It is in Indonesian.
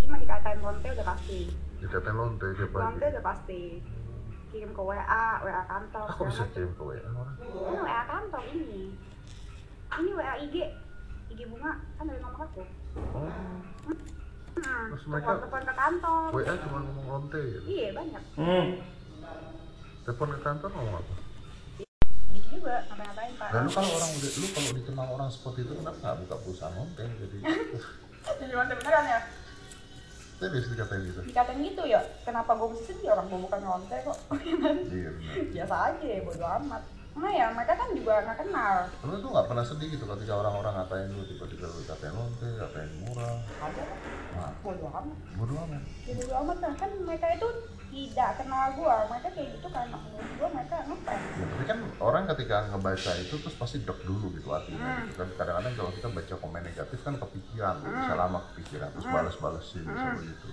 DP lonte udah pasti DP lonte tiap lonte pagi. udah pasti kirim ke WA WA kantor Aku Ah, bisa segala kirim ke WA orang. macam. ini WA kantor ini ini WA IG IG bunga kan dari nomor aku Oh, hmm, Terus mereka- telepon telepon ke kantor WA cuma ngomong lonte gitu. iya banyak Hmm. Telepon ke kantor ngomong apa? gitu juga sampai ngapain pak Lalu kalau orang udah, Nah, lu kalau dikenal orang seperti itu kenapa nggak buka perusahaan lonte? Jadi, jadi lonte beneran ya serius dikatain gitu. dikatain gitu ya kenapa gue mesti sedih orang gue bukan lonte kok Iya benar. biasa aja ya bodo amat nah ya mereka kan juga nggak kenal Lu tuh nggak pernah sedih gitu ketika orang-orang ngatain lu tiba-tiba lu katain lonte, katain murah. aja lah, Nah, bodo amat bodo amat. ya bodo amat lah kan mereka itu tidak kenal gue mereka kayak gitu karena menurut gue mereka ngefans Ya, tapi kan orang ketika ngebaca itu terus pasti deg dulu gitu hatinya gitu kan kadang-kadang kalau kita baca komen negatif kan kepikiran bisa lama kepikiran terus balas-balesin bisa begitu